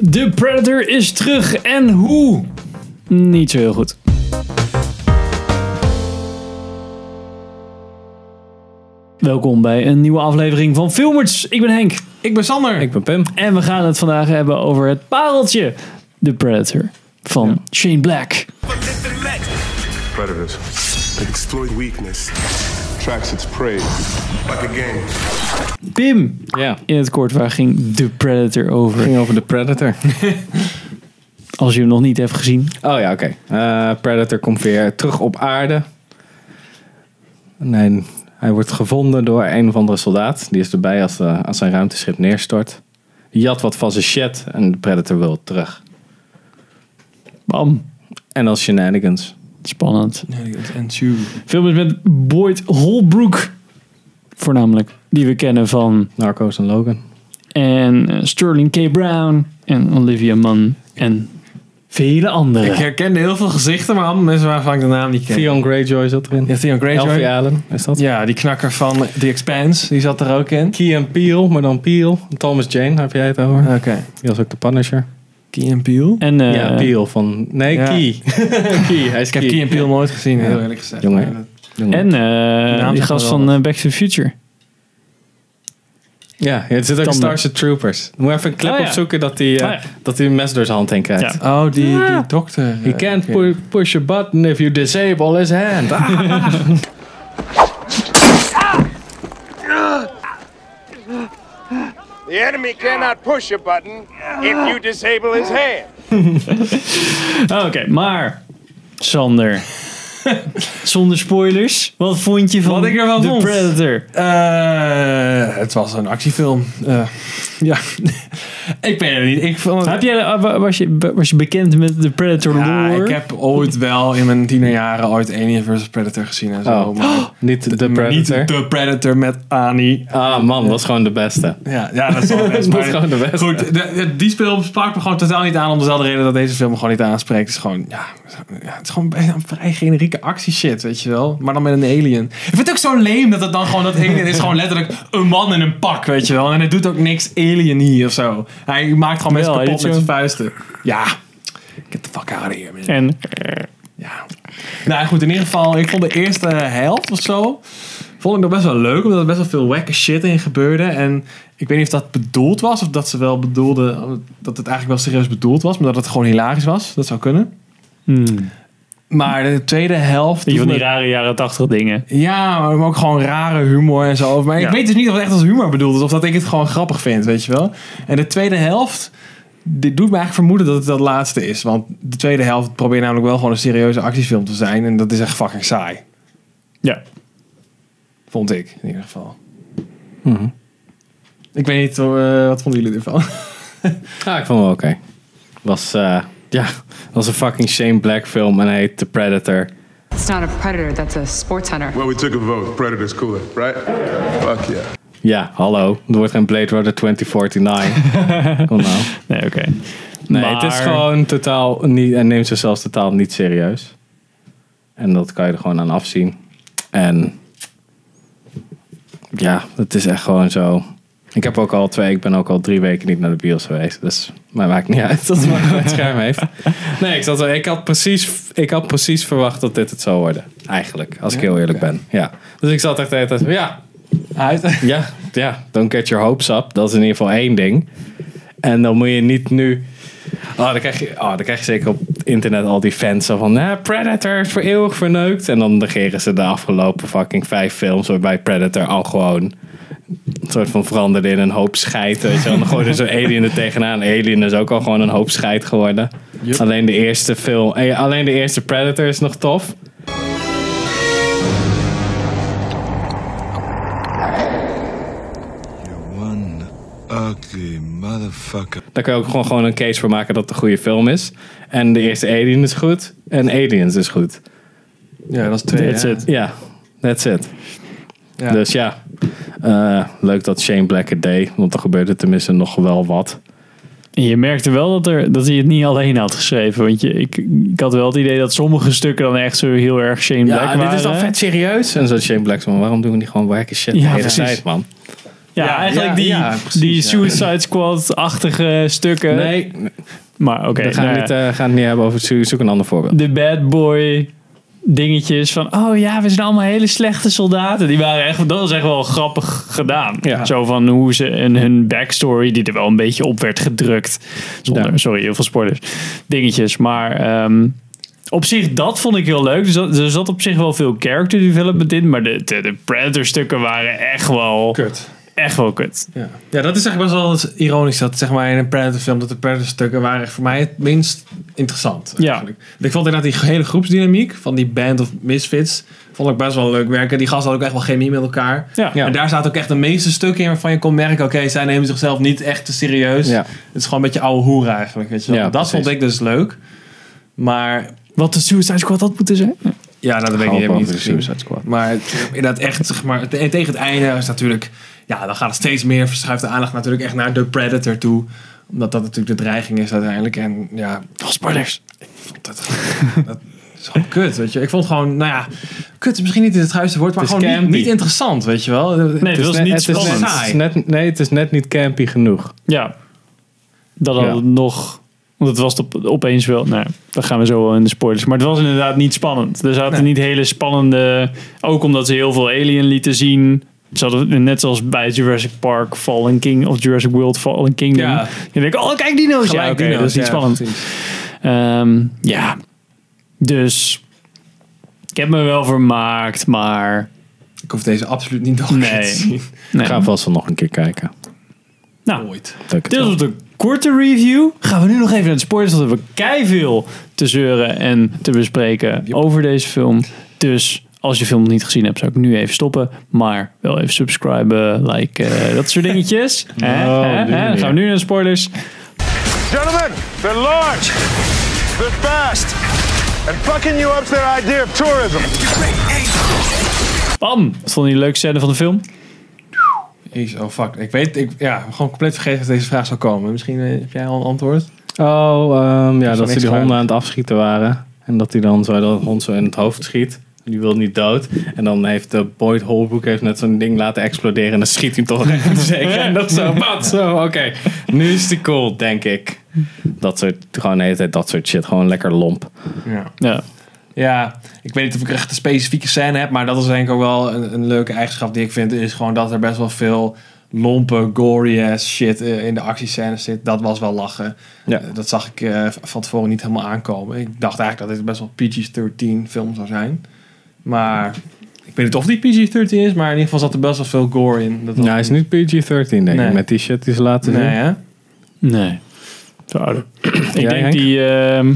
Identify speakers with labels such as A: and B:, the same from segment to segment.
A: De Predator is terug en hoe? Niet zo heel goed. Welkom bij een nieuwe aflevering van Filmers. Ik ben Henk
B: Ik ben Sander.
C: Ik ben Pim.
A: en we gaan het vandaag hebben over het pareltje, de Predator van Shane Black.
D: predators. They exploit weakness, tracks its prey like a game.
A: Pim,
C: Ja.
A: in het kort waar ging de Predator over?
C: Ging over de Predator.
A: Als je hem nog niet hebt gezien.
C: Oh ja, oké. Eh, Predator komt weer terug op aarde. Nee, hij wordt gevonden door een of andere soldaat. Die is erbij als, eh, als zijn ruimteschip neerstort. Die jat wat van zijn shit en de Predator wil terug.
A: Bam,
C: En als shenanigans.
A: spannend.
B: En Sue.
A: Film is met Boyd Holbrook, voornamelijk. Die we kennen van
C: Narcos en Logan.
A: en eh, Sterling K. Brown en Olivia Munn en vele
B: Ik
A: anderen.
B: herkende heel veel gezichten, maar allemaal mensen waarvan ik de naam niet ken.
C: Theon Greyjoy zat erin.
B: Ja, Theon Greyjoy.
C: Elfie Allen, is dat?
B: Ja, die knakker van The Expanse, die zat er ook in.
C: Key en Peel, maar dan Peel. Thomas Jane, heb jij het over?
B: Oké.
C: Die was ook de Punisher.
B: Key and Peele.
A: En eh,
C: ja, Peel van... Nee,
B: ja.
C: Key. Key, hij is
B: Ik heb Key and Peele nooit gezien, heel
C: Ja.
B: eerlijk gezegd.
C: Jongen.
B: Maar dat-
C: Jongen.
A: en eh,
B: naam
A: die
B: zegt
A: gast
B: me wel
A: van eh, Back to the Future.
C: Ja, het zit ook in
A: Tanden.
C: Starship Troopers. Moet even een clip
A: Oh ja.
C: opzoeken dat hij eh,
A: Oh ja.
C: dat hij een mes door zijn hand heen krijgt.
A: Ja.
B: Oh, die,
C: Ah.
A: Ja.
B: die dokter.
C: You can't pu- push a button if you disable his hand. Ah.
E: The enemy cannot push a button if you disable his hand.
A: Oh, Oké, maar Sander, zonder spoilers, wat vond je van
B: Wat ik ervan
A: The
B: vond?
A: Predator?
B: Eh, het was een actiefilm. Eh, ja. ik ben er niet. Ik vond
A: Heb jij, eh, wa- was, je, was je bekend met de Predator
B: ja,
A: lore?
B: ik heb ooit wel in mijn tienerjaren ooit Alien vs Predator gezien en zo.
C: Oh.
B: maar-
C: Niet de
B: Maar
C: Predator.
B: Niet de Predator met Ani.
C: Ah man, dat is gewoon de beste.
B: Ja, ja dat is wel best.
C: Dat
B: maar-
C: is gewoon de beste.
B: Goed, de- de- die film sprak me gewoon totaal niet aan om dezelfde reden dat deze film me gewoon niet aanspreekt. Het is gewoon, ja, ja, het is gewoon bijna een vrij generieke actieshit, weet je wel. Maar dan met een alien. Ik vind het ook zo leem dat het dan gewoon, dat alien is gewoon letterlijk een man in een pak, weet je wel. En het doet ook niks alien hier of zo. Hij maakt gewoon mensen
A: Wel,
B: kapot
A: hij
B: met
A: doet
B: zijn vuisten. Ja, get the fuck out of here, man.
A: En
B: Ja. Nou goed, in ieder geval, ik vond de eerste helft of zo. Vond ik nog best wel leuk, omdat er best wel veel wacke shit in gebeurde. En ik weet niet of dat bedoeld was, of dat ze wel bedoelden dat het eigenlijk wel serieus bedoeld was, maar dat het gewoon hilarisch was. Dat zou kunnen.
A: hmm,
B: Maar de tweede helft.
A: die van die
B: toen-
A: rare jaren tachtig dingen.
B: ja, maar ook gewoon rare humor en zo. Maar
A: Ja.
B: ik weet dus niet of het echt als humor bedoeld is, of dat ik het gewoon grappig vind, weet je wel. En de tweede helft. Dit doet me eigenlijk vermoeden dat het dat laatste is. Want de tweede helft probeert namelijk wel gewoon een serieuze actiefilm te zijn. En dat is echt fucking saai.
A: Ja,
B: Vond ik, in ieder geval.
A: Mhm.
B: Ik weet niet, eh, wat vonden jullie ervan?
C: Ja, Ah, ik vond hem wel oké. Was, eh, ja, was een fucking Shane Black film en hij heet The Predator.
F: It's not a predator, that's a sports hunter.
D: Well, we took a vote. Predator's cooler, right? Fuck yeah.
C: Ja, hallo. Er wordt geen Blade Runner 2049. Kom nou.
A: nee, oké.
C: Nee,
A: Maar-
C: het is gewoon totaal niet. En neemt zichzelf totaal niet serieus. En dat kan je er gewoon aan afzien. En. Ja, het is echt gewoon zo. Ik heb ook al twee, ik ben ook al drie weken niet naar de bios geweest. Dus mij maakt niet uit dat het maar gewoon het scherm heeft. Nee, ik, zat, zo- ik, had precies, ik had precies verwacht dat dit het zou worden. Eigenlijk, als ik heel eerlijk ben. Ja. Dus ik zat echt de hele tijd van, ja,
B: Uit.
C: ja, ja, don't get your hopes up. Dat is in ieder geval één ding. En dan moet je niet nu... Oh, dan krijg je, oh, dan krijg je zeker op internet al die fans zo van... Nah, Predator is voor eeuwig verneukt. En dan negeren ze de afgelopen fucking vijf films... waarbij Predator al gewoon een soort van veranderde in een hoop scheid. Weet je wel. Dan gooiden ze Alien er tegenaan. Alien is ook al gewoon een hoop scheid geworden. Alleen de eerste film... eh, Alleen de eerste Predator is nog tof.
G: One ugly motherfucker.
C: Daar kun je ook gewoon, gewoon een case voor maken dat het een goede film is. En de eerste Alien is goed. En Aliens is goed.
B: Ja, dat is twee.
A: That's it.
C: Ja, that's it.
B: Ja.
C: Dus ja, eh, leuk dat Shane Black het deed. Want er gebeurde tenminste nog wel wat.
A: En je merkte wel dat, er, dat hij het niet alleen had geschreven. Want je, ik, ik had wel het idee dat sommige stukken dan echt zo heel erg Shane Black
C: Ja,
A: waren.
C: dit is dan vet serieus. En zo Shane Black zo, waarom doen we niet gewoon werken shit
A: Ja,
C: de hele
A: precies.
C: tijd, man?
A: Ja,
B: Ja,
A: eigenlijk
B: ja,
A: die,
B: ja, precies,
A: die
B: ja.
A: Suicide Squad-achtige stukken.
C: Nee,
A: Maar oké,
C: we gaan,
A: nou ja,
C: niet, eh, gaan het niet hebben over het Zoek een ander voorbeeld.
A: de bad boy dingetjes van... Oh ja, we zijn allemaal hele slechte soldaten. Die waren echt, dat was echt wel grappig gedaan.
C: Ja.
A: Zo van hoe ze en hun backstory, die er wel een beetje op werd gedrukt. Zonder,
C: Ja.
A: sorry, heel veel spoilers. Dingetjes, maar... ehm, op zich, dat vond ik heel leuk. Dus dat- er zat op zich wel veel character development in. Maar de, de, de Predator-stukken waren echt wel,
B: Kut.
A: echt wel kut.
B: Ja. ja, dat is eigenlijk best wel ironisch dat zeg maar, in een Predator film dat de Predator stukken waren voor mij het minst interessant.
A: Ja.
B: Eigenlijk. Ik vond inderdaad die hele groepsdynamiek van die band of misfits vond ik best wel leuk werken. Die gasten hadden ook echt wel chemie met elkaar.
A: Ja.
B: En daar zaten ook echt de meeste stukken in waarvan je kon merken, oké, zij nemen zichzelf niet echt te serieus.
C: Ja.
B: Het is gewoon een beetje ouwe hoer eigenlijk. Weet je wel.
C: Ja,
B: dat
C: precies.
B: vond ik dus leuk. Maar
A: Wat de Suicide Squad had moeten zijn.
B: ja, nou, dat weet ik niet, heb ik
C: Gewoon
B: niet
C: over de
B: gezien.
C: Suicide Squad.
B: Maar het- inderdaad echt, zeg maar, te- en tegen het einde is natuurlijk, ja, dan gaat het steeds meer, verschuift de aandacht natuurlijk echt naar de Predator toe. Omdat dat natuurlijk de dreiging is uiteindelijk. En ja,
A: Oh, spoilers.
B: dat, dat is gewoon kut, weet je. Ik vond gewoon, nou ja, kut is misschien niet het juiste woord, maar
C: Het is
B: gewoon niet,
C: campy.
B: niet interessant, weet je wel.
A: Nee, dat was
C: net-
A: niet
C: het is
A: spannend.
C: net, het is net- nee, het is net niet campy genoeg.
A: Ja. Dat
C: Ja.
A: had het nog... Want het was op, opeens wel... Nou, daar gaan we zo wel in de spoilers. Maar het was inderdaad niet spannend. Er zaten niet hele spannende... Ook omdat ze heel veel Alien lieten zien. Ze hadden, net zoals bij Jurassic Park Fallen King... Of Jurassic World Fallen Kingdom.
B: Ja.
A: Je denkt, oh kijk dino's. ja, oké, dat is niet spannend. Ehm, ja. Dus... Ik heb me wel vermaakt, maar...
B: Ik hoef deze absoluut niet nog
A: Nee.
B: nee. te zien.
A: Nee.
C: Ik ga vast wel nog een keer kijken.
A: nou,
B: Ooit.
C: Dank
A: Dit was de korte review. Gaan we nu nog even naar de spoilers, want we hebben keiveel te zeuren en te bespreken over deze film. Dus als je de film nog niet gezien hebt, zou ik nu even stoppen. Maar wel even subscriben, liken, dat soort dingetjes. Hè, hè,
C: doe je
A: hè. Dan
C: niet.
A: gaan we nu naar de spoilers.
E: Gentlemen, they're large, they're fast, and fucking you up's their idea of tourism.
A: Bam! Wat vond je de leukste scène van de film?
B: Jezus, oh fuck. Ik weet, ik, ja, gewoon compleet vergeten dat deze vraag zou komen. Misschien eh, heb jij al een antwoord?
C: Oh, ehm, ja, dat
B: niks
C: ze die honden
B: geluid.
C: aan het afschieten waren. En dat hij dan zo, dat hond zo in het hoofd schiet. Die wil niet dood. En dan heeft de Boyd Holbrook heeft net zo'n ding laten exploderen. En dan schiet hij hem toch recht in de zeker. En dat zo, wat zo, oké. Nu is die cool, denk ik. Dat soort, gewoon de hele tijd dat soort shit. Gewoon lekker lomp.
B: Ja.
A: Ja.
B: Ja, ik weet niet of ik echt een specifieke scène heb, maar dat is denk ik ook wel een, een leuke eigenschap die ik vind. Is gewoon dat er best wel veel lompe, gory ass shit eh, in de actiescènes zit. Dat was wel lachen.
C: Ja.
B: Eh, dat zag ik eh, v- van tevoren niet helemaal aankomen. Ik dacht eigenlijk dat dit best wel PG-13 film zou zijn. Maar ik weet niet of die PG-13 is, maar in ieder geval zat er best wel veel gore in. Dat
C: Nou, hij is niet PG-13 denk ik.
B: Nee.
C: Met die shit die ze laten
B: Nee,
C: zien.
B: hè?
A: Nee. Te ouder. Ik
C: Jij,
A: denk
C: Henk?
A: die... ehm,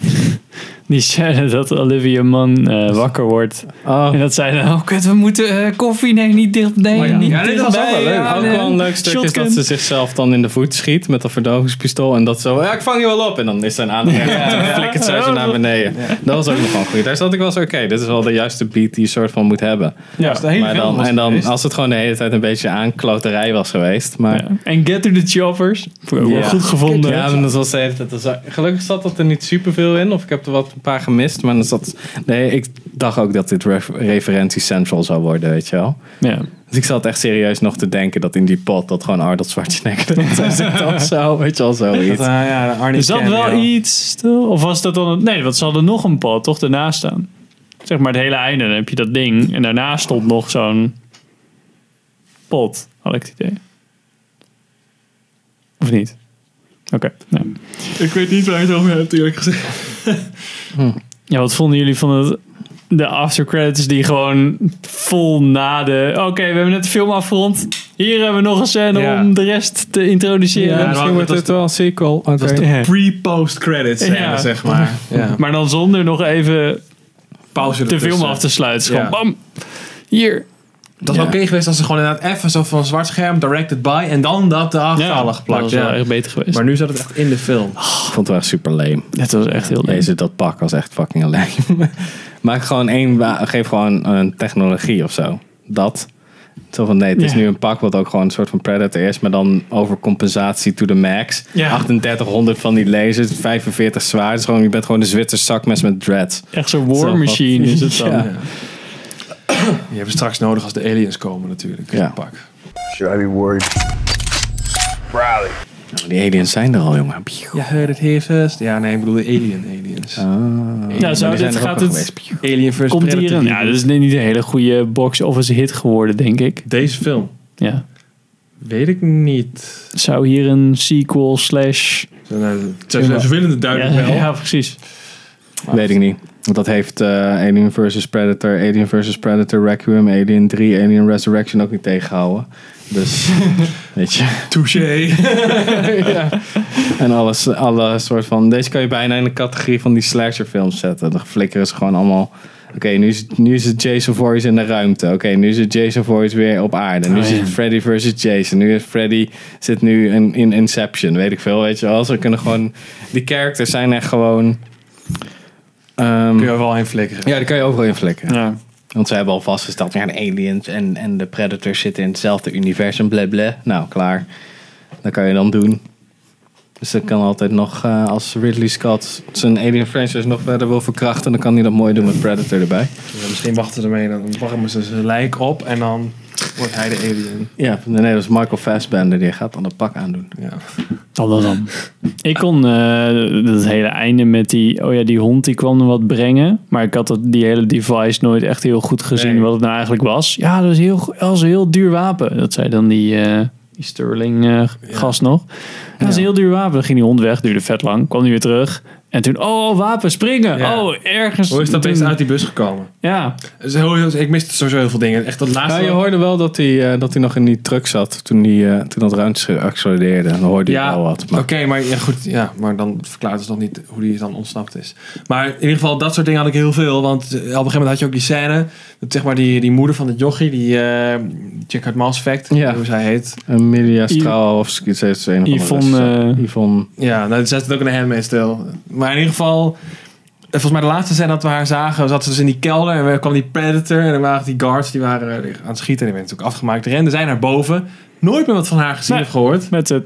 A: die scène dat Olivia Munn eh, wakker wordt.
C: Oh,
A: En dat zij dan, oh kut, we moeten eh, koffie, nee, niet dicht, nee,
B: Oh ja.
A: niet
B: Ja, dit was ook wel
A: dichtbij,
B: leuk.
A: ja,
C: ook
A: nee.
C: wel een leuk stuk is
A: Shotgun.
C: dat ze zichzelf dan in de voet schiet met dat verdovingspistool. En dat zo, ja, ik vang je wel op. En dan is zijn aandacht echt, dan flikkert zij zo naar beneden. Dat was ook nog wel goed. Daar zat ik wel zo, oké, dit is wel de juiste beat die je soort van moet hebben.
B: Ja, de hele
C: Maar
B: film
C: dan,
B: was
C: en dan,
B: geweest.
C: als het gewoon de hele tijd een beetje aankloterij was geweest. Maar,
A: Ja. En Get to the Choppers, Vond ik ook wel
C: Ja.
A: goed gevonden.
C: Ja, maar dat was de hele tijd. dat er- Gelukkig zat dat er niet superveel in. Of ik heb er wat een paar gemist. Maar dan zat. Nee, ik dacht ook dat dit ref- referentie central zou worden, weet je wel.
A: Ja.
C: Dus ik zat echt serieus nog te denken dat in die pot dat gewoon Arnold Schwarzenegger erin zou zitten of zo. Weet je wel,
B: Dat, eh,
C: zoiets.
B: ja, Arnie
A: Is dat wel
B: cameo.
A: iets, stil? of was dat dan, een- nee, want ze hadden nog een pad, toch, daarnaast staan. Zeg maar het hele einde, dan heb je dat ding, en daarnaast stond nog zo'n pot, had ik het idee. Of niet? Oké, nou.
B: Ik weet niet waar je het over hebt, eerlijk gezegd.
A: Ja, wat vonden jullie van het, de aftercredits die gewoon vol na de... Oké, we hebben net de film afgerond. Hier hebben we nog een scène
B: Ja.
A: om de rest te introduceren.
B: Ja, dat- dat-
C: wel een sequel. Oké.
A: Ja.
B: Pre-post credits scène,
A: Ja.
B: zeg maar. Ja.
A: Maar dan zonder nog even
B: Pauze
A: de film
B: ertussen.
A: af te sluiten. Het is
B: Ja.
A: Gewoon bam, hier.
B: Dat was oké geweest als ze gewoon inderdaad even zo van een zwart scherm, directed by, en dan dat erachter hadden
A: dat
B: geplakt.
A: was wel
B: Ja.
A: echt beter geweest.
B: Maar nu zat het echt in de film.
C: Ik vond het wel echt super lame.
A: het was echt heel leuk.
C: Deze, dat pak was echt fucking lame. Maak gewoon één, wa- geef gewoon een technologie of zo. Dat. Zo van nee, het is
A: Ja.
C: nu een pak wat ook gewoon een soort van Predator is, maar dan over compensatie to the max.
A: Ja.
C: 3800 van die lasers, 45 zwaar. Dus gewoon, je bent gewoon de Zwitser zakmes met dreads.
A: Echt zo'n
C: Zo
A: war
C: wat-
A: machine is het dan.
C: Ja. Nou,
B: Die hebben we straks nodig als de aliens komen natuurlijk.
C: Ja.
B: Pak.
E: Should I be worried? Riley.
C: Die aliens zijn er al, jongen.
B: Ja, heard it here first. Ja, nee, ik bedoel de alien aliens.
A: Ja, zo,
C: Maar die
A: dit
C: zijn er
A: gaat
C: ook al
A: het,
C: geweest.
B: Alien versus
A: komt hier
B: Predator.
A: een. Ja, dit is niet een hele goede box office hit geworden, denk ik.
B: Deze film?
A: Ja.
B: Weet ik niet.
A: Zou hier een sequel slash...
B: Ze, ze- ze willen het
A: Ja,
B: duidelijk wel.
A: ja, precies.
C: Weet ik niet. Want dat heeft eh, Alien vs. Predator, Alien vs. Predator, Requiem, Alien 3, Alien Resurrection ook niet tegengehouden. Dus, weet je.
B: Touché.
C: En alles, alle soort van... Deze kan je bijna in de categorie van die slasherfilms zetten. Dan flikkeren ze gewoon allemaal... Oké, nu, is, nu is het Jason Voorhees in de ruimte. Oké, nu is het Jason Voorhees weer op aarde. Nu
A: Oh,
C: is
A: ja.
C: het Freddy versus Jason. Nu is Freddy zit nu in, in Inception. Weet ik veel, weet je wel. Ze kunnen gewoon... Die characters zijn echt gewoon... ehm,
B: Kun je er wel heen flikkeren.
C: ja, die kan je overal in flikken.
A: Ja.
C: Want ze hebben al vastgesteld, ja, de aliens en, en de predators zitten in hetzelfde universum, blablabla. Nou, klaar. Dat kan je dan doen. Dus dat kan altijd nog, eh, als Ridley Scott zijn alien franchise nog verder wil verkrachten, dan kan hij dat mooi doen met Predator erbij.
B: Ja, misschien wachten ze ermee. Dan warmen ze zijn lijk op en dan wordt hij de alien.
C: Ja, nee, dat is Michael Fassbender, die gaat dan een pak aandoen.
B: Ja.
A: Dan dan dan. Ik kon eh, dat hele einde met die... Oh ja, die hond die kwam er wat brengen. Maar ik had dat, die hele device nooit echt heel goed gezien
C: Nee.
A: wat het nou eigenlijk was. Ja, dat is heel, go- dat is een heel duur wapen. Dat zei dan die, eh, die Sterling eh, gast nog. Ja, dat is een heel duur wapen. Dan ging die hond weg, duurde vet lang. Kwam hij weer terug. En toen, oh, wapen, springen.
B: Ja.
A: Oh, ergens.
B: Hoe is dat
A: toen-
B: eens uit die bus gekomen?
A: Ja,
B: Dus heel- heel- ik miste sowieso heel veel dingen. Echt dat
C: Ja,
B: laatste.
C: je hoorde wel dat hij, eh, dat hij nog in die truck zat toen, die, eh, toen dat ruimte accelereerde. Dan hoorde je
B: Ja,
C: wel wat.
B: oké,
C: Maar
B: maar, ja, goed, ja, maar dan verklaart het nog niet hoe die dan ontsnapt is. Maar in ieder geval, dat soort dingen had ik heel veel. Want eh, op een gegeven moment had je ook die scène. Dat, zeg maar die, die moeder van het jochie, die eh Jack uit Mass Effect,
C: Ja.
B: hoe zij heet.
C: Emilia Straal of zoiets. ze is een of andere
A: Yvonne,
C: Russische.
A: eh,
C: Yvonne
B: Ja, nou, zet het ook in de handmaid stil. Maar in ieder geval, eh, volgens mij de laatste scène dat we haar zagen, zat ze dus in die kelder en er kwam die predator en er waren die guards die waren eh, aan het schieten en die werden natuurlijk afgemaakt. Renden zij naar boven. Nooit meer wat van haar gezien
A: Nee.
B: of gehoord.
A: met het...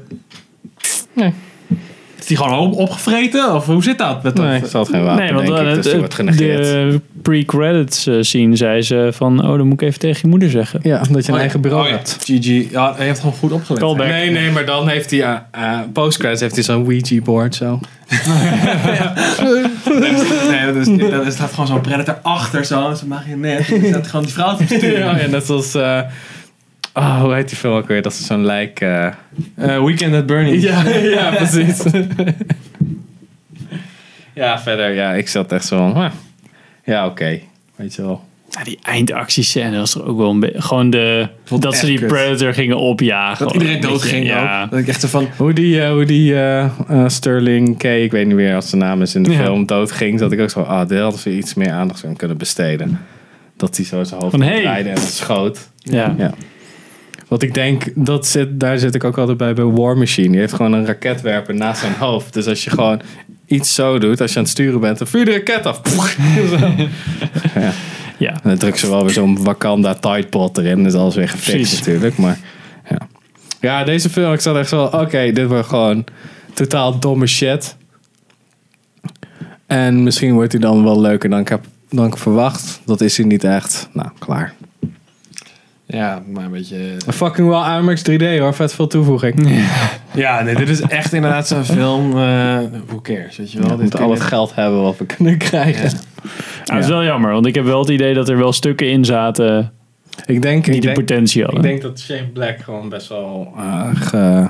B: Is die gewoon op- opgevreten? Of hoe zit dat? Met dat?
C: Nee, ze had geen wapen,
A: Nee, want
C: denk
A: eh,
C: ik. Dus
A: het-
C: die wordt genegeerd.
A: de pre-credits eh, scene zei ze van... Oh, dan moet ik even tegen je moeder zeggen.
C: eh, Ja, omdat je een
B: Oh,
C: eigen bureau
B: oh, ja.
C: hebt.
B: GG. Ja, hij heeft gewoon goed opgelet.
A: Callback.
C: Nee, nee, maar dan heeft hij... eh eh, Postgres heeft hij zo'n Ouija-board zo.
B: Nee, dat is, dat is, staat gewoon zo'n predator achter zo. Ze mag je net. Er staat gewoon die vrouw te besturen.
C: ja, net zoals...
B: ah,
C: oh, hoe heet die film ook weer? Dat is zo'n lijk...
B: Eh, Weekend at Bernie.
C: ja, precies. ja, verder. Ja, ik zat echt zo van... "Huh, Ja, oké. Weet je wel.
A: Ja, die eindactiescène was er ook wel een beetje... Gewoon de,
B: vond
A: dat
B: het
A: ze
B: echt
A: die
B: kut.
A: Predator gingen opjagen.
B: Dat iedereen
A: Een beetje,
B: doodging
A: ja.
B: ook. Dat ik echt zo van...
C: Hoe die, eh, hoe die eh, eh, Sterling K, ik weet niet meer wat zijn naam is in de
A: Ja.
C: film, doodging. Zat ik ook zo van, ah, daar hadden ze iets meer aandacht aan kunnen besteden. Dat hij zo zijn hoofd
A: Van, hey.
C: draaide en schoot.
A: Ja.
C: Ja. Want ik denk, dat zit, daar zit ik ook altijd bij bij War Machine. Die heeft gewoon een raketwerper naast zijn hoofd. Dus als je gewoon iets zo doet, als je aan het sturen bent, dan vuur de raket af.
A: ja.
C: En dan drukt ze wel weer zo'n Wakanda Tidepot erin. Dus alles weer gefixt
A: Precies.
C: natuurlijk. Maar ja. ja, deze film, ik zat echt zo oké, dit wordt gewoon totaal domme shit. En misschien wordt hij dan wel leuker dan ik, heb, dan ik verwacht. Dat is hij niet echt. Nou, klaar.
B: Ja, maar een beetje...
C: Fucking wel IMAX 3D hoor, vet veel toevoeging.
B: Ja, nee, dit is echt inderdaad zo'n film. hoe who cares, weet je wel?
C: We
B: dit
C: moeten al het geld hebben wat we kunnen krijgen.
A: Ah, dat is wel jammer, want ik heb wel het idee dat er wel stukken in zaten
C: Ik denk,
A: die
C: ik
A: de
C: denk,
A: potentie hadden.
C: ik denk dat Shane Black gewoon best wel eh, ge-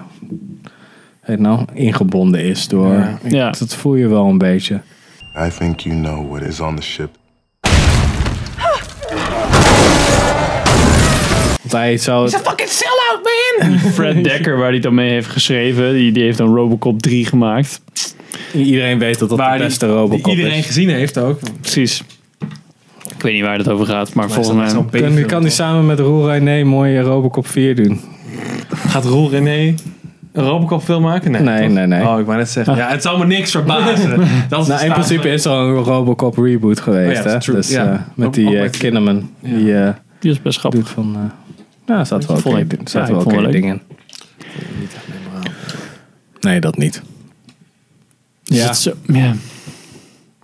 C: weet nou, ingebonden is door. Ik-
A: Ja.
C: Dat voel je wel een beetje.
D: I think you know what is on the ship.
C: Want hij zou.
A: Fred Dekker, waar hij dan mee heeft geschreven, die, die heeft dan Robocop 3 gemaakt.
C: Iedereen weet dat dat
B: Waar
C: de
B: die-
C: beste
B: die
C: Robocop
B: iedereen
C: is.
B: gezien heeft ook.
A: Precies. Ik weet niet waar dat over gaat, maar,
B: Volgens mij is dat
A: volgens mij...
C: Kan,
B: echt zo'n
C: die-
B: B-film,
C: kan die samen met Roel René mooi Robocop 4 doen?
B: toch? Gaat Roel René een Robocop film maken? Nee,
C: Nee,
B: toch?
C: nee, nee.
B: Oh, ik wou net zeggen. Ja, het zou me niks verbazen. dat is
C: Nou, in principe is er al een Robocop reboot geweest.
B: Oh ja,
C: hè?
B: dat is true.
C: Dus,
B: Ja.
C: eh, met die
B: Ook
C: eh,
B: met-
C: Kinnaman. Die eh,
A: Die was best grappig.
C: doet van. eh nou, zat wel
A: vond
C: oké
A: ik- ja,
C: zat wel
A: ik vond
C: oké
A: wel leuk.
C: dingen in.
A: eh.
C: Nee, dat niet.
A: Dus dat is zo- ja.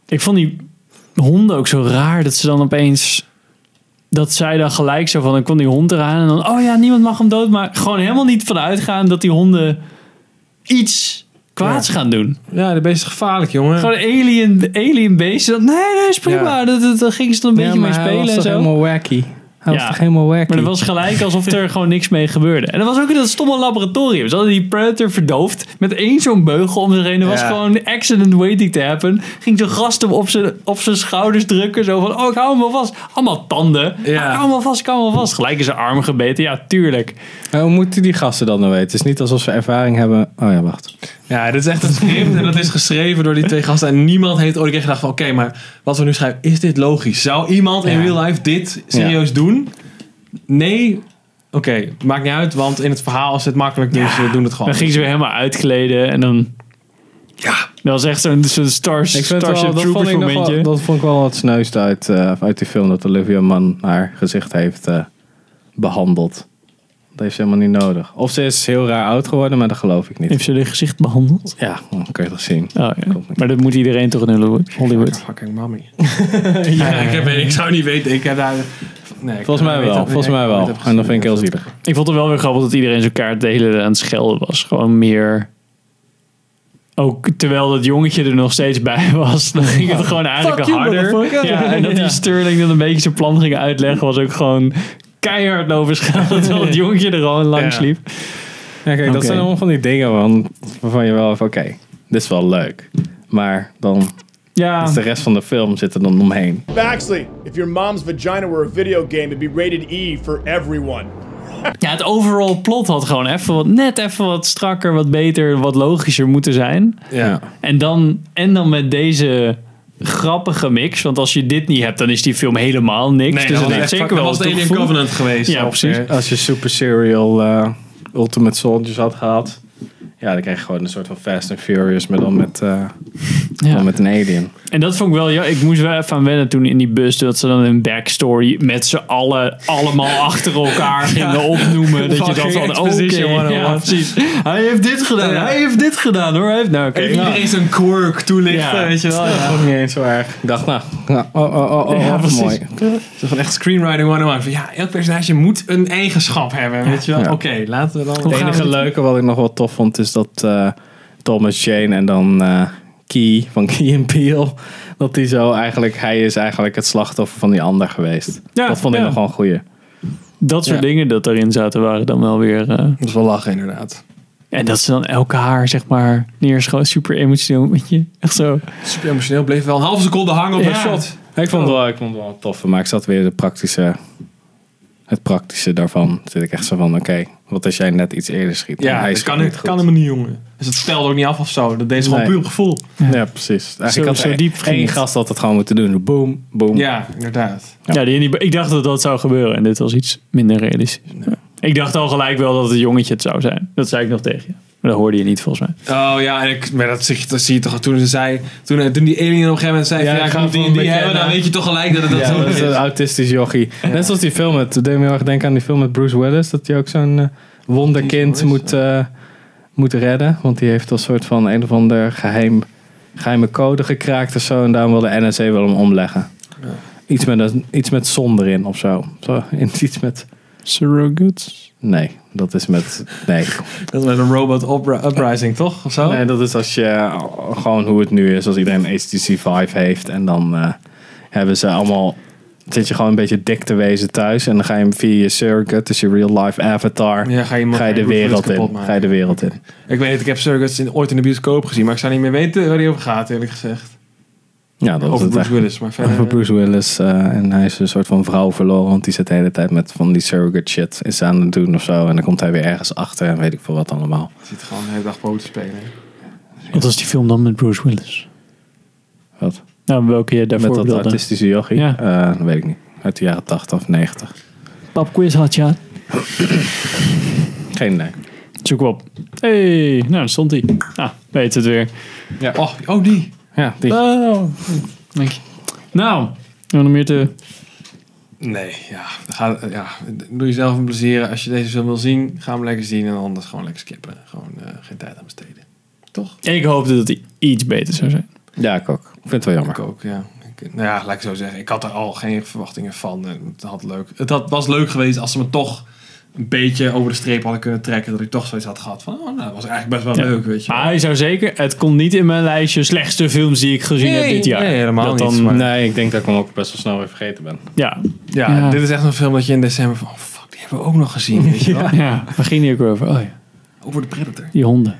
A: Ik vond die honden ook zo raar dat ze dan opeens dat zij dan gelijk zo van, dan kwam die hond eraan en dan, oh ja, niemand mag hem dood. Maar gewoon helemaal niet vanuit gaan dat die honden iets kwaads gaan doen.
B: Ja, de beest is gevaarlijk, jongen.
A: Gewoon alien, alien beesten. Dat, nee, nee, is prima.
B: Ja.
A: Dat, dat, daar gingen ze dan een beetje mee
C: hij was
A: spelen en
C: toch
A: zo.
C: helemaal wacky. Hij
A: Ja.
C: was toch helemaal wacky.
A: Maar dat was gelijk alsof er gewoon niks mee gebeurde. En dat was ook in dat stomme laboratorium. Ze hadden die Predator verdoofd met één zo'n beugel om zich heen. Er was
B: Ja.
A: gewoon accident waiting to happen. Ging zo'n gast hem op zijn, op zijn schouders drukken. Zo van, oh, ik hou hem wel vast. Allemaal tanden.
B: Ja.
A: Ah, Ik hou hem wel vast, ik hou hem wel vast. Gelijk is zijn arm gebeten. Ja, tuurlijk.
B: Dus
C: Ja, Hoe moeten die gasten dan nou weten? Het is niet alsof ze ervaring hebben. Oh ja, wacht.
B: Ja, dit is echt een script en dat is geschreven door die twee gasten. En niemand heeft ooit een keer gedacht van... Oké, maar wat we nu schrijven, is dit logisch? Zou iemand in
C: Ja.
B: real life dit serieus doen? Nee? Oké, maakt niet uit, want in het verhaal is het makkelijk, dus we doen het gewoon.
A: Dan ging ze weer helemaal uitkleden. En dan... Ja. Dat was echt zo'n zo'n stars,
C: Ik vind het
A: Starship
C: wel, dat, vond
A: Troopers
C: ik nog wel-
A: momentje.
C: dat vond ik wel wat sneust uit, eh, uit die film dat Olivia Mann haar gezicht heeft eh, behandeld. Dat heeft ze helemaal niet nodig. Of ze is heel raar oud geworden, maar dat geloof ik niet.
A: Heeft ze haar gezicht behandeld?
C: Ja, dat kun je toch zien.
A: Oh, ja. Maar dat moet iedereen toch in Hollywood- Hollywood.
B: Fucking mommy. ja, ik, heb, ik zou niet weten. Ik heb daar... Nee, ik
C: Volgens mij
B: weet dat
C: wel,
B: niet.
C: volgens mij
B: Ik
C: wel.
B: weet dat
C: En dat vind ik heel zielig.
A: Ik vond het wel weer grappig dat iedereen zijn kaart de hele tijd aan het schelden was. Gewoon meer... Ook terwijl dat jongetje er nog steeds bij was, dan ging het gewoon eigenlijk
B: you,
A: harder.
B: motherfucker.
A: Ja, en dat die
B: Ja.
A: Sterling dan een beetje zijn plan ging uitleggen, was ook gewoon keihard over schelden. Terwijl het jongetje er gewoon langs
B: Ja.
A: liep.
C: Ja, kijk, dat
A: Oké.
C: zijn allemaal van die dingen waarvan, waarvan je wel even, oké, dit is wel leuk. Maar dan
A: Ja,
C: is de rest van de film zit er dan omheen.
H: Baxley, if your mom's vagina were a video game, it'd be rated E for everyone.
A: ja, het overall plot had gewoon even wat, net even wat strakker, wat beter, wat logischer moeten zijn.
B: Ja.
A: En dan, en dan met deze grappige mix, want als je dit niet hebt, dan is die film helemaal niks.
B: Nee,
A: dus
B: dat
A: het
B: was,
A: heeft
B: echt,
A: zeker wel
B: dat was de
A: wat
B: Alien
A: toegevoegd.
B: Covenant geweest.
A: Ja, precies.
C: Als je Super Serial eh, Ultimate Soldiers had gehad, ja, dan krijg je gewoon een soort van Fast and Furious, maar dan met, eh,
A: Ja.
C: dan met een alien.
A: En dat vond ik wel, ja, ik moest wel even aan wennen toen in die bus, dat ze dan hun backstory met z'n allen allemaal achter elkaar gingen opnoemen. Dat je
B: Fucking
A: dan van, oké,
B: exposition one-on-one.
A: oh ja, precies. Hij heeft dit gedaan,
B: Ja.
A: hij heeft dit gedaan hoor. Hij heeft, nou, oké.
B: Even iedereen zijn quirk toelichten,
A: Ja.
B: weet je wel. Ja.
C: Vond ik niet eens zo erg. Ik dacht, nou, nou, oh, oh, oh, oh, wat
A: precies.
C: mooi.
B: Zo van echt screenwriting 101. Van, ja, elk personage moet een eigenschap hebben, weet je wel.
C: Ja.
B: Oké, laten we dan...
C: Het enige leuke wat ik nog wel tof vond is dat eh, Thomas Jane en dan eh, Key van Key en Peele. Dat die zo eigenlijk, hij is eigenlijk het slachtoffer van die ander geweest.
A: Ja,
C: dat vond ik
A: ja.
C: nog wel een goeie.
A: Dat soort
B: Ja.
A: dingen dat erin zaten waren dan wel weer... eh,
B: Dat is wel lachen, inderdaad.
A: en dat ze dan elkaar, zeg maar, neerschoten. Super emotioneel, weet je. Echt zo.
B: Super emotioneel, bleef wel een halve seconde hangen op
A: Ja.
B: dat shot.
C: Ik vond, het
B: Oh.
C: wel, ik vond het wel een toffe, maar ik zat weer de praktische, het praktische daarvan. Zit ik echt zo van, oké, wat als jij net iets eerder schiet?
B: Ja,
C: En
B: hij
C: schiet
B: kan, het
C: goed.
B: kan helemaal niet, jongen. Dus dat stelde ook niet af of zo. Dat deed ze gewoon
C: Nee.
B: puur op gevoel.
C: Ja, precies. Eigenlijk
A: Zo-
C: had
A: zo diep
C: diep
A: ging
C: één
A: het.
C: gast had het gewoon moeten doen. Boom, boom.
B: Ja, inderdaad.
A: Ja, die, die- ik dacht dat dat zou gebeuren. En dit was iets minder realistisch. Ik dacht al gelijk wel dat het jongetje het zou zijn. Dat zei ik nog tegen je. Maar dat hoorde je niet volgens mij.
B: Oh ja, en ik, maar dat zie, je- dat zie je toch toen ze zei... Toen, eh, toen die alien op een gegeven moment zei...
C: Ja,
B: van, Ja,
C: ik
B: ik
C: ga
B: moet die,
C: gewoon
B: die
C: bekennen.
B: hebben, dan weet je toch gelijk dat het dat
C: Ja,
B: zo
C: dat is
B: is.
C: een autistisch jochie. Net zoals die film met, dat deed me heel erg denken aan die film met Bruce Willis, dat hij ook zo'n eh, wonderkind
B: Bruce Willis,
C: moet, eh, moet redden. Want die heeft een soort van een of ander geheim, geheime code gekraakt of zo. En daarom wil de NSA wil hem omleggen. Iets, met een, iets met zon erin of zo. zo in- iets met...
A: Surrogates?
C: Nee, dat is met... Nee.
B: Dat is met een robot upri- uprising, toch? Of zo?
C: nee, dat is als je eh, gewoon hoe het nu is. Als iedereen een HTC 5 heeft en dan eh, hebben ze allemaal... Zit je gewoon een beetje dik te wezen thuis en dan ga je hem via je surrogate, dus je real life avatar,
B: Ja, ga je hem-
C: ga je de
B: Bruce Willis
C: wereld
B: kapot
C: in.
B: maken.
C: Ga je de wereld in.
B: Ik weet niet, ik heb Surrogates in- ooit in de bioscoop gezien, maar ik zou niet meer weten waar die over gaat, eerlijk gezegd.
C: Ja, dat
B: Over
C: is het
B: Bruce
C: echt.
B: Willis, maar verder... eh,
C: Over Bruce Willis eh, en hij is een soort van vrouw verloren, want die zit de hele tijd met van die surrogate shit is aan het doen of zo en dan komt hij weer ergens achter en weet ik veel wat allemaal.
B: eh, Zit gewoon de hele dag poot te spelen.
A: Wat was die film dan met Bruce Willis?
C: Wat?
A: Nou, welke je daarvoor
C: Met dat
A: bedoelde.
C: artistische jochie?
A: Ja.
C: Eh, weet ik niet. Uit de jaren 80 of 90.
A: Papquiz had je.
C: Geen idee.
A: Zoek hem op. hey, nou daar stond hij. Ah, weet het weer.
B: Ja. Oh, oh, die.
C: Ja, die.
A: Oh. Dank je. Nou, we nog meer te...
B: Nee, ja, ga, ja. Doe jezelf een plezier. Als je deze film wil zien, ga hem lekker zien. En anders gewoon lekker skippen. Gewoon eh, geen tijd aan besteden.
A: Ik hoopte dat hij iets beter zou zijn.
C: Ja, ik ook. Ik vind het wel jammer.
B: Ik ook, ja. Ik Ik- nou ja, laat ik zo zeggen. Ik had er al geen verwachtingen van. En Het, had leuk, het had, was leuk geweest als ze me toch een beetje over de streep hadden kunnen trekken. Dat ik toch zoiets had gehad van, oh, nou, dat was eigenlijk best wel leuk, weet je wel.
A: Maar hij zou zeker, het komt niet in mijn lijstje slechtste films die ik gezien heb
B: Nee,
A: dit jaar.
B: nee, helemaal
A: dat
B: niet,
A: Dan,
B: maar-
C: Nee, ik denk dat ik hem ook best wel snel weer vergeten ben.
A: Ja,
B: Ja,
A: Ja.
B: dit is echt een film dat je in december van, oh fuck, die hebben we ook nog gezien, weet je wel.
A: ja, waar ging die ook weer over? Oh ja,
B: Over de Predator.
A: die honden.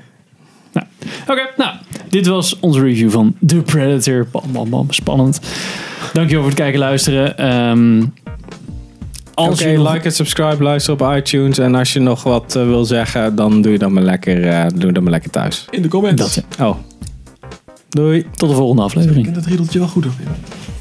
A: Nou, Oké, nou, dit was onze review van The Predator. Bam, bam, bam, spannend. Dankjewel voor het kijken en luisteren. Ehm
C: Oké,
A: als je nog-
C: like en subscribe, luister op iTunes. En als je nog wat eh, wil zeggen, dan doe je dat maar lekker, eh, doe dat maar lekker thuis.
B: In de comments.
A: Dat, ja.
C: Oh. Doei.
A: Tot de volgende aflevering.
B: Ik ken dat riedeltje wel goed op.